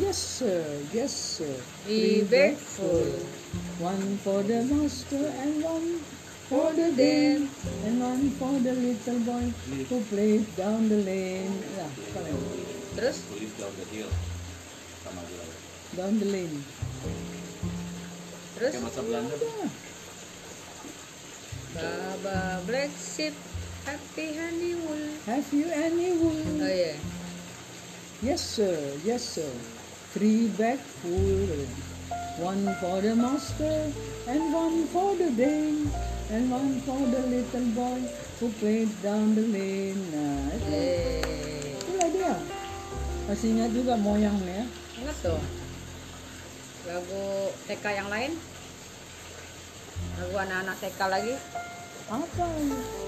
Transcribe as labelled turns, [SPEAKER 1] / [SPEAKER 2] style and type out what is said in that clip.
[SPEAKER 1] Yes, sir. Yes, sir. Three
[SPEAKER 2] Be thankful.
[SPEAKER 1] One for the master and one for the dame and one for the little boy who played down the lane. Yeah, correct.
[SPEAKER 2] Terus
[SPEAKER 3] who live down the hill sama gue
[SPEAKER 1] Down the lane.
[SPEAKER 2] terus
[SPEAKER 3] kayak bahasa Belanda
[SPEAKER 1] Yeah.
[SPEAKER 2] Baba Black Sheep Happy Honeymoon.
[SPEAKER 1] Have you any wool?
[SPEAKER 2] Oh iya.
[SPEAKER 1] Yes, sir. Yes, sir. Three bag full. One for the master, and one for the dame, and one for the little boy who played down the lane. Nah, itu,
[SPEAKER 2] Eh,
[SPEAKER 1] itulah Iya, dia. Masih ingat juga ya. moyangnya.
[SPEAKER 2] ingat dong. Lagu TK yang lain? Lagu anak-anak TK lagi?
[SPEAKER 1] Apa?